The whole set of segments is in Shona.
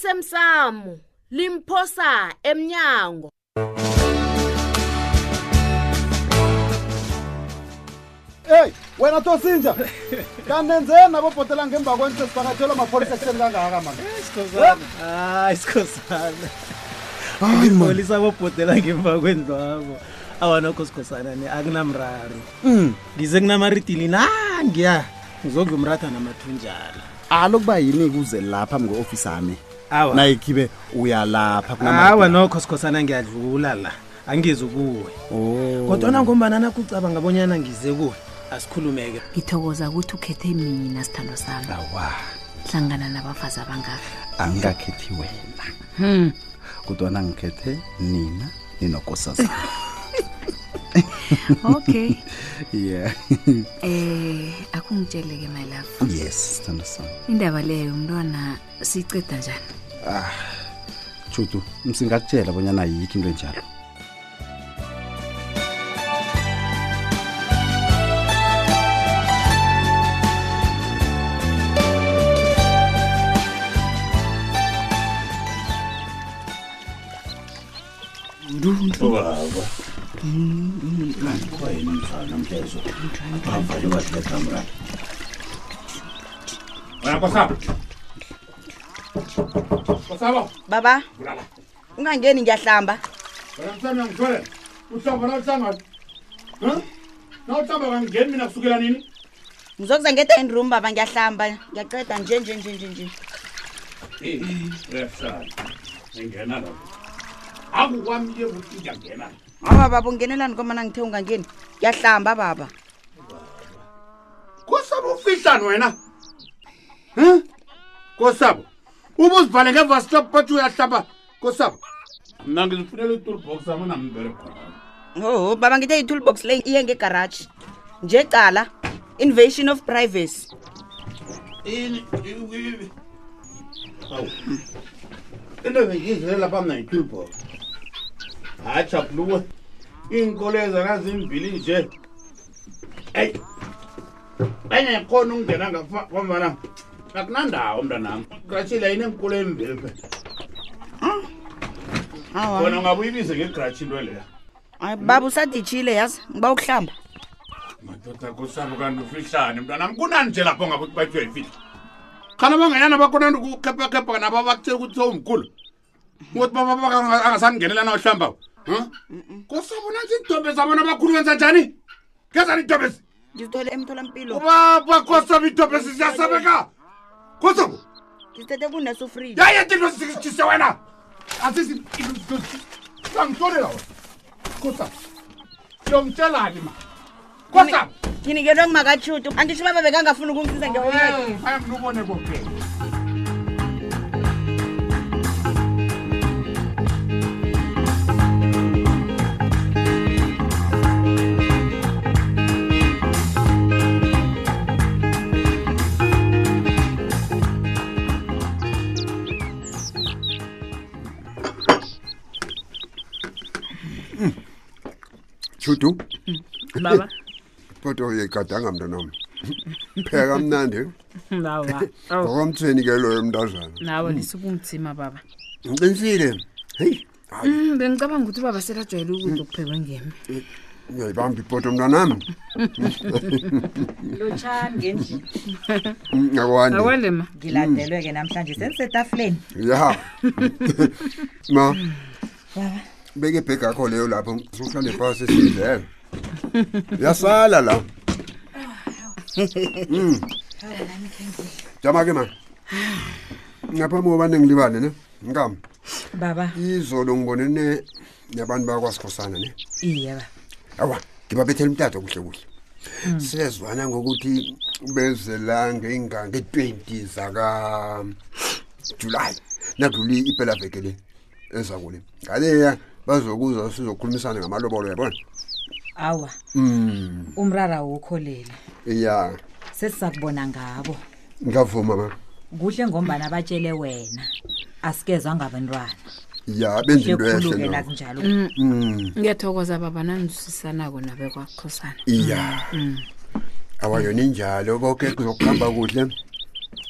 osemsamo limphosa emnyango eyi wena tosinja kanenzeni abobhotela ngemva kwenu sesivakatshelwa mapholisa ekuseni kangaka mani sikhosana hayi sikhosana ngipolisa bobhodela ngemva kwendlwabo awanokho sikhosana ne akunamrari Mm. ngize kunamaridili nangiya ngizodla umratha namathunjana alokuba yini kuze lapha mngu-ofisi ami Awa. nayikhibe uyalapha hawa nokho sikhosana ngiyadlula la angizi kuwe Oh. kodwana ngombana nakucabanga ngabonyana ngize kuwe asikhulumeke ngithokoza ukuthi ukhethe mina sithando sami awa hlangana nabafazi abangaka angikakhethi wena kodwana ngikhethe nina ninokosazana okay yeah eh akungitsheleke my love yes sithando sami indaba leyo umntwana siyiceda njani chutu msingakutshela bonyana yikho into enjalo baba ungangeni ngiyahlamba ngithole uhlamba nawuhlamba nawuhlamba kangeni mina kusukela nini ngizokuza nge-ten room baba ngiyahlamba ngiyaceda nje nje nje nje nje Eh, ngingena la akukwamiye kutinja ngena aba baba ungenelani komana ngithe ungangeni ngiyahlamba baba kosabo ufihlani wena Huh? kosabo ube uzivale ngevastop bathi uyahlamba kosabo mna ngizifunela i-toolbox ami namvele khona oh baba ngithe i-toolbox le iye ngegaraji nje cala invasion of privacy ini into bengiyizele lapha mna yitulbo hayi jabuluwe iinkolo ezana zimbili nje eyi bengekhona ukungena ngapha kwamana akunandawo mntanam gratshile ayineenkolo embili phe hawa khona ungabuyibize ngegratshi into leya Ay, baba usaditshile yazi ngiba ukuhlamba madoda kosabo kanti ufihlane mntanam kunani nje lapho ngabe batyiwa yifihla khana bangenyana bakhona ndikukhephakhepha nabo bakutshela ukuthi sowumkhulu ukuthi baba angasangenela na uhlamba kosabo nansi idobe zabona abakhulu wenza njani ngezani idobezi ngizithole emtholampilo ubaba kosabo idobezi ziyasabeka kosabo ngizithethe kunesufriji yayenza into zisise wena asisi angihlolela wena kosabo yomtshelani ma kosabo nginikelwe ngumakatshutu angisho baba bekangafuni ukungisiza ngehomework ayamnubone kophela Chutu, baba kodwa uyayigadanga mntanami. Pheka mnandi. nawa Ngokomtheni ke loyo mntazana. nawa lisukungithima baba Uqinisile. Hey, hayi Mm, bengicabanga ukuthi ubaba selajwayele ukudla okuphekwe ngemi uyayibamba ipoto mntanami. lotshani ngendlini Akwani. akwale ma Mm. ngiladelwe-ke namhlanje senisetafuleni Ya. Ma. Beke bheka kho leyo lapho sohlale phasi sidlela. Yasala la. Mm. Jama ke ma. Ngapha mo bane ngilibane ne. Ngam. baba Izolo ngibonene nabantu bakwasikhosana ne. iye ba awa ngibabethela umtato kuhle kuhle sezwana ngokuthi beze la ngeinganga e-20 zaka July nakudluli iphela veke le ezakule ngaleya bazokuza sizokhulumisana ngamalobolo yabona awa mm umrara wokholela ya sesiza kubona ngabo ngavuma ma kuhle ngombana batshele wena asikezwa ngabantwana ya benza into ekhulu-ke ehle no. nakunjalo mm ngiyathokoza baba nanizwisisanako nabe kwakukhosana iya awayona injalo konke kuzokuhamba kuhle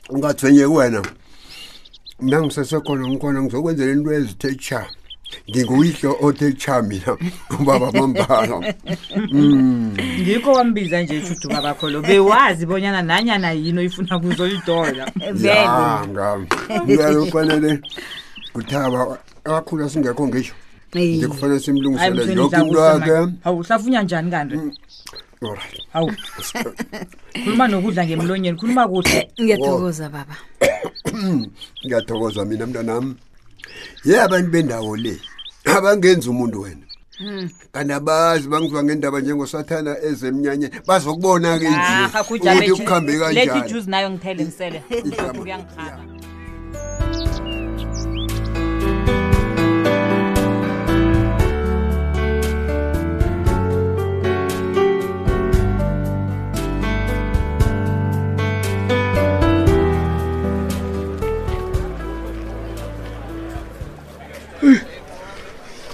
ungathwenye wena nangisasekhona ngikhona ngizokwenzela into ezithe cha nginguyihlo othe cha mina ubaba mambala ngikho wambiza nje judu babakho lo bewazi bonyana nanyana yini oyifuna kuzoyidola yanga uyalo kufanele kuthaba akhulu asingekho ngisho nje kufanele simlungisele yonke into yakhe Mm. hawu hlafunya njani kanti Alright. hawu khuluma nokudla ngemlonyeni khuluma kuhle ngiyathokoza baba ngiyathokoza mina mntanami ye abantu bendawo le abangenzi umuntu wena kanti abazi bangiziwa ngendaba njengosathana ezemnyanyeni bazokubona-ke aha nje ukuthi kuhambe lethi kanjani ijuzi nayo ngithele ngisele lokhu kuyangikhaba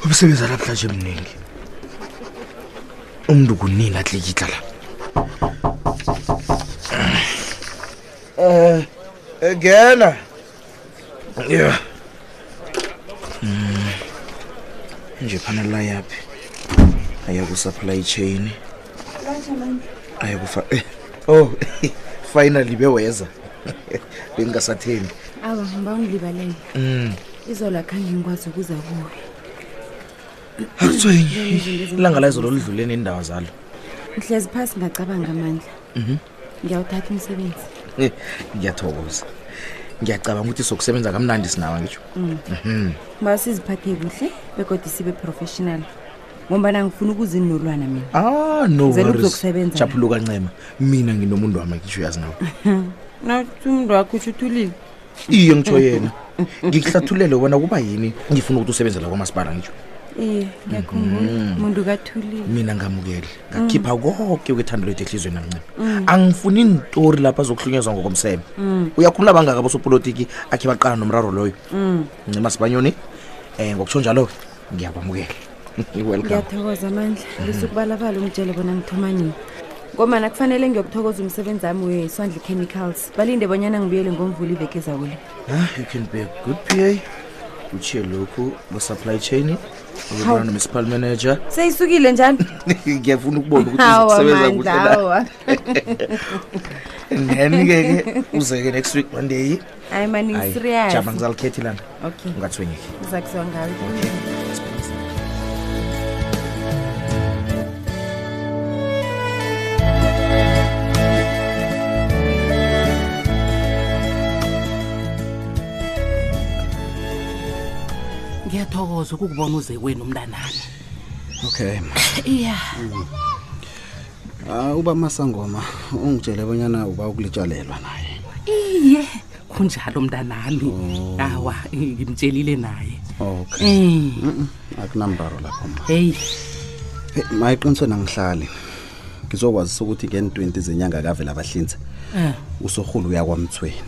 umsebenzi alamhlanje mningi umntu kunini atlikitla la ngena ya Mm. nje phanela yaphi aya ku-supply chain aya kufa eh. oh finally beweza bengingasathembi awa ngiba ungilibalele mm. izolo akhange ngikwazi ukuza kuwe akuthiwa ilanga la izolo lidlule nendawo zalo ngihlezi phasi ngacabanga amandla Mhm. ngiyawuthatha umsebenzi Eh, ngiyathokoza ngiyacabanga ukuthi sokusebenza kamnandi sinawa ngisho Mm. Mhm. ba siziphathe kuhle bekodwa sibe professional ngombana ngifuna ukuzini nolwana mina ah no Ngizela worries. ukuzokusebenza. Japhuluka ncema mina nginomuntu wami ngisho uyazi nawe nawuthi umntu wakho utsho uthulile iye ngitsho yena ngikuhlathulele wena kuba yini ngifuna ukuthi usebenzela kwamasipala ngisho iye ngiyakhumbula Mhm. Ee, umuntu kathulile mina ngamukele ngakhipha konke kwethando lethu ehliziyweni nancema Mm. angifuni intori lapha azokuhlunyezwa ngokomsebe Mm. uyakhulula bangaka abosopolitiki akhe baqala nomraro loyo Mm. ncema sibanyoni um ngokutsho njalo-ke ngiyakwamukela welcome ngiyathokoza amandla Mhm. ngisukubalabala ungitshele bona ngithoma nini ngomana kufanele ngiyokuthokoza umsebenzi wami weswandle chemicals balinde bonyana ngibuyele ngomvula iveke ezakule Ah, you can be a good PA. Uchiye lokhu bo-supply chain, Hawu. uyobona no-municipal manager. seyisukile njani Ngiyafuna ukubona ukuthi hawa uzokusebenza kuhle mandla na. hawa And then ke ke uze-ke next week Monday. hayi mani Hayi, ngisiriyas jama ngizalikhetha ilanga. Okay. Ungathwenyeki. ngizakuziwa ngawe ngiyathokoza ukukubona uze kwenu mntanami okay ma. iya Ah, uba masangoma ungitshele bonyana uba ukulitshalelwa naye iye kunjalo mntanami Oh. awa eh, ngimtshelile naye okay Mm. Mm-mm, akunambaro lapho ma Eh, heyi mayiqinisweni angihlali ngizokwazisa ukuthi ngeni-20 zenyanga kavela abahlinze Eh. usorhulu uya kwamthweni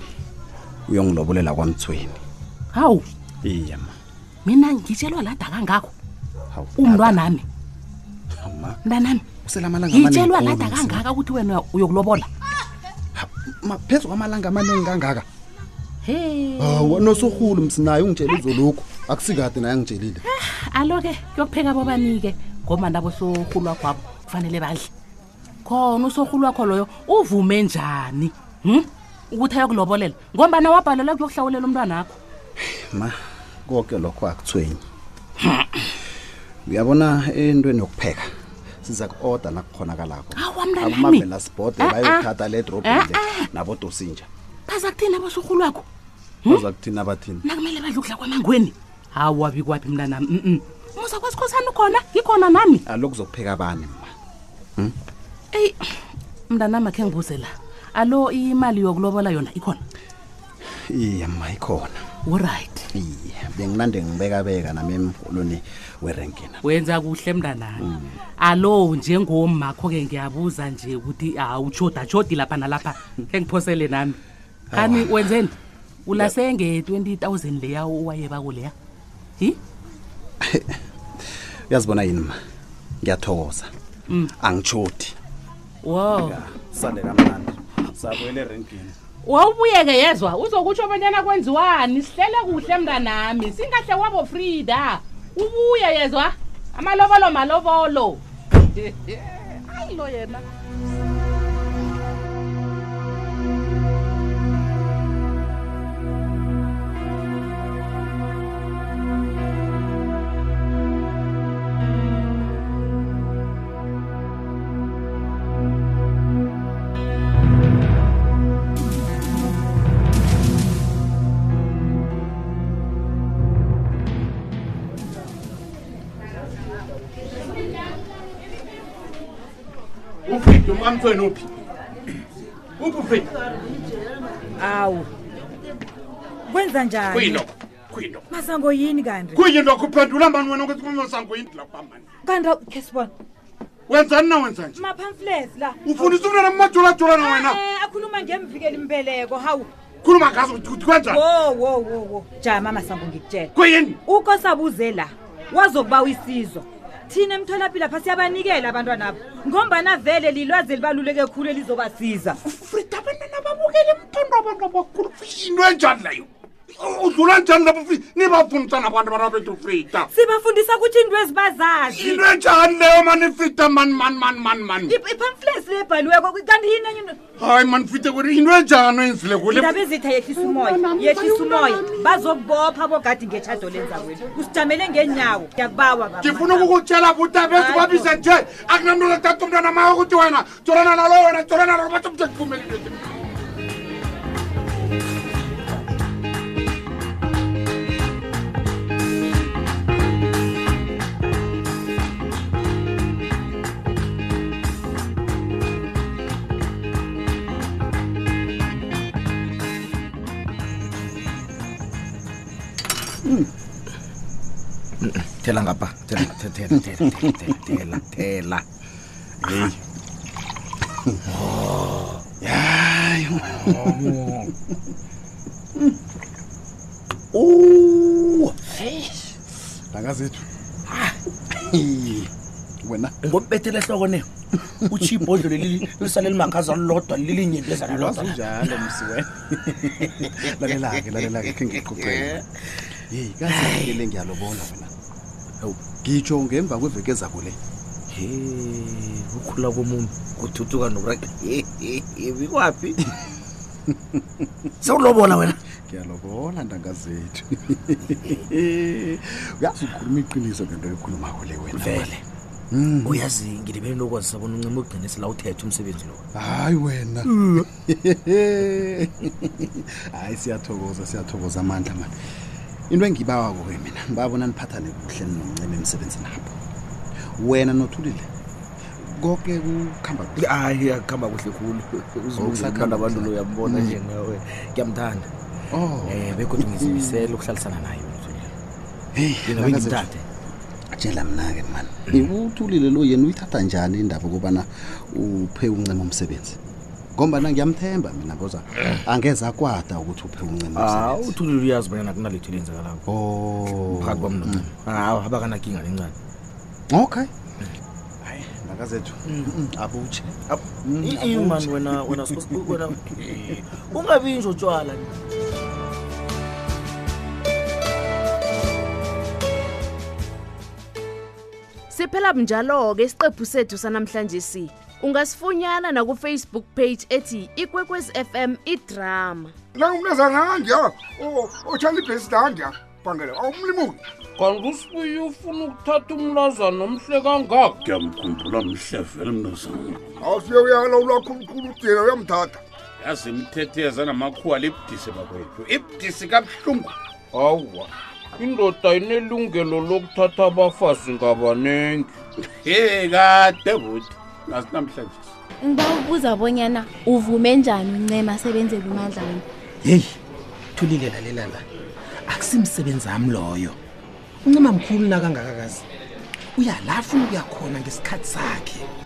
uyongilobolela kwamthweni hawu iye ma mina ngitshelwa lada kangakho hawu umntwanami ma mntanami uselamalanga ngitshelwa lada kangaka ukuthi wena uyokulobola phezu kwamalanga amaningi kangaka he hawa nosorhulu msinaye ungitshela uzolokhu akusikade naye angitshelile alo-ke kuyokupheka bobanike ngomana bosorhulu wakhwabo kufanele badle khona usorhulu wakho loyo uvume njani hm? ukuthi ayokulobolela ngombana wabhalelwa kuyokuhlawulela umntwana akho ma konke lokho akuthwenyi uyabona entweni yokupheka siza ku-order nakukhonakalako Awa, mntanami. abavelasibhode Ah, ah. bayokuthatha le drobhile Ah, ah. nabodosinja baza kuthini abosorhulu wakho Hmm? baza kuthina bathini nakumele badle ukudla kwamangweni hawu wabi kwaphi mntanami mm muza kwasikhosana ukhona ngikhona nami aloku zokupheka bani ma eyi mntanami akhe ngibuze la alo imali yokulobola yona ikhona iye ma ikhona oright iye benginande ngibekabeka nami emholweni werenkina wenza kuhle mntanami alo njengomakho-ke ngiyabuza nje ukuthi awushodi ashodi lapha nalapha khe ngiphosele nami kani wenzeni ulasenge-20 000 leya owayeba kuleya hi uyazibona yini ma ngiyathokoza angitshoti wo sande kamnandi sabuyela erenkini wawubuye-ke yezwa uzokutsho abanyana kwenziwani sihlele kuhle mntanami singahle wabo frida ubuye yezwa amalobolo malobolo hayi lo yena ufrida umkamthweni uphi uphi ufrida awu kwenza njani kuyilokho kuyilokho masango yini kanti kuyilokho uphendula mani wena ukuthi kumasangoyini lapha mani kanti awu- khe sibona wenzani na wenza nje ma-pamphlets la ufunisa umntwana mumajulajulana wena Eh, akhuluma ngemvikeli mbeleko hawu khuluma ngazo ukuthi ukuthi kwenjani wo wo wo wo jama masango ngikutshela kuyini ukosabuze la wazokuba uyisizo thina emtholapilo apha siyabanikela abantwanabo ngombana vele lilwazi elibaluleke khulu elizobasiza babukele mthondabantaba kakhulu into enjani leyo udlula njani lapho fri nibafundisana abantu abana bethu frida sibafundisa ukuthi into ezibazazi into enjani leyo mani frida mani mani mani mani mani i-pamphlets lebhaliweko kanti yini enye into- hayi mani frida kuri into enjani oyenzile kule indaba ezitha yehlisa umoya yehlisa umoya bazokubopha bogadi ngeshado lenza kwenu usijamele ngenyawo ngiyakubawa baba. ngifuna ukukutshela futhi abethu Hayi babize nje akunamntu oletata umntwana mayo ukuthi wena jolana nalo wena jolana nalo bathi mthethuphumelile thela ngapha thela thela, thela, thela, thela, thela thela hey Oh, yayi oh. Oh, danga zethu Ah, wena ngobethela ehloko ne utshiye ibhodlo leli lisale limakhaza lodwa lilinye bezana lodwa Wazinjalo, msi wena. lalelake lalelake khe ngiquqele yeyi kazekele ngiyalobona wena hawu ngitsho ngemva kweveke ezako le he ukhula komuntu kuthuthuka nokuraka bikwaphi sewulobola wena ngiyalobola ntanga zethu uyazi ukhuluma iqiniso ngento yokhulumako le wena Vele. Mm. uyazi ngilibele lokwazi sabona uncima ugcinise la uthethe umsebenzi lowo hayi wena hayi siyathokoza siyathokoza amandla mani into engibawako ke mina ngibabona niphathane kuhle ninomncima emsebenzini apho wena nothulile konke kukhamba hayi akuhamba kuhle khulu usathanda abantu lo uyambona nje nawe ngiyamthanda Oh. um bekodwa ngizimisele ukuhlalisana naye Yena Mm. bengimthathe. tshela mna-ke mani uthulile lo yena uyithatha njani indaba okubana uphe uncima umsebenzi ngombana ngiyamthemba mina koza Eh. angeze akwada ukuthi uphe uncima Ah, umsebenzi uthulile uyazi bonyana kunalitho elenzakalako Oh. phakathi kwam noncima hawu abakanakinga lencane okay hayi nakazethu abutshe Mm, abutshe. imani wena wena sos- wena Eh, ungabinjho tshwala siphela bunjalo-ke isiqephu sethu sanamhlanje si ungasifunyana nakufacebook page ethi ikwekwezi fm idrama nangumntazana nandiya otshana ibhesi nandiya bangela awumlimuki kanti usibuye ufuna ukuthatha umlazana omhle kangako ngiyamkhumbula mhle vele mntazana awusuye uyalawulwa khulukhulu udina uyamthatha yazi mthetheza namakhuwa libudise bakwethu ibudisi kabuhlungu awa indoda inelungelo lokuthatha abafazi ngabanengi he kade buti nazi namhlanje ngiba ukubuza bonyana uvume njani uncema asebenzele umandlana heyi thulile lalela la akusimsebenzi ami loyo uncima mkhulu nakangakakazi uyala afuna ukuya khona ngesikhathi sakhe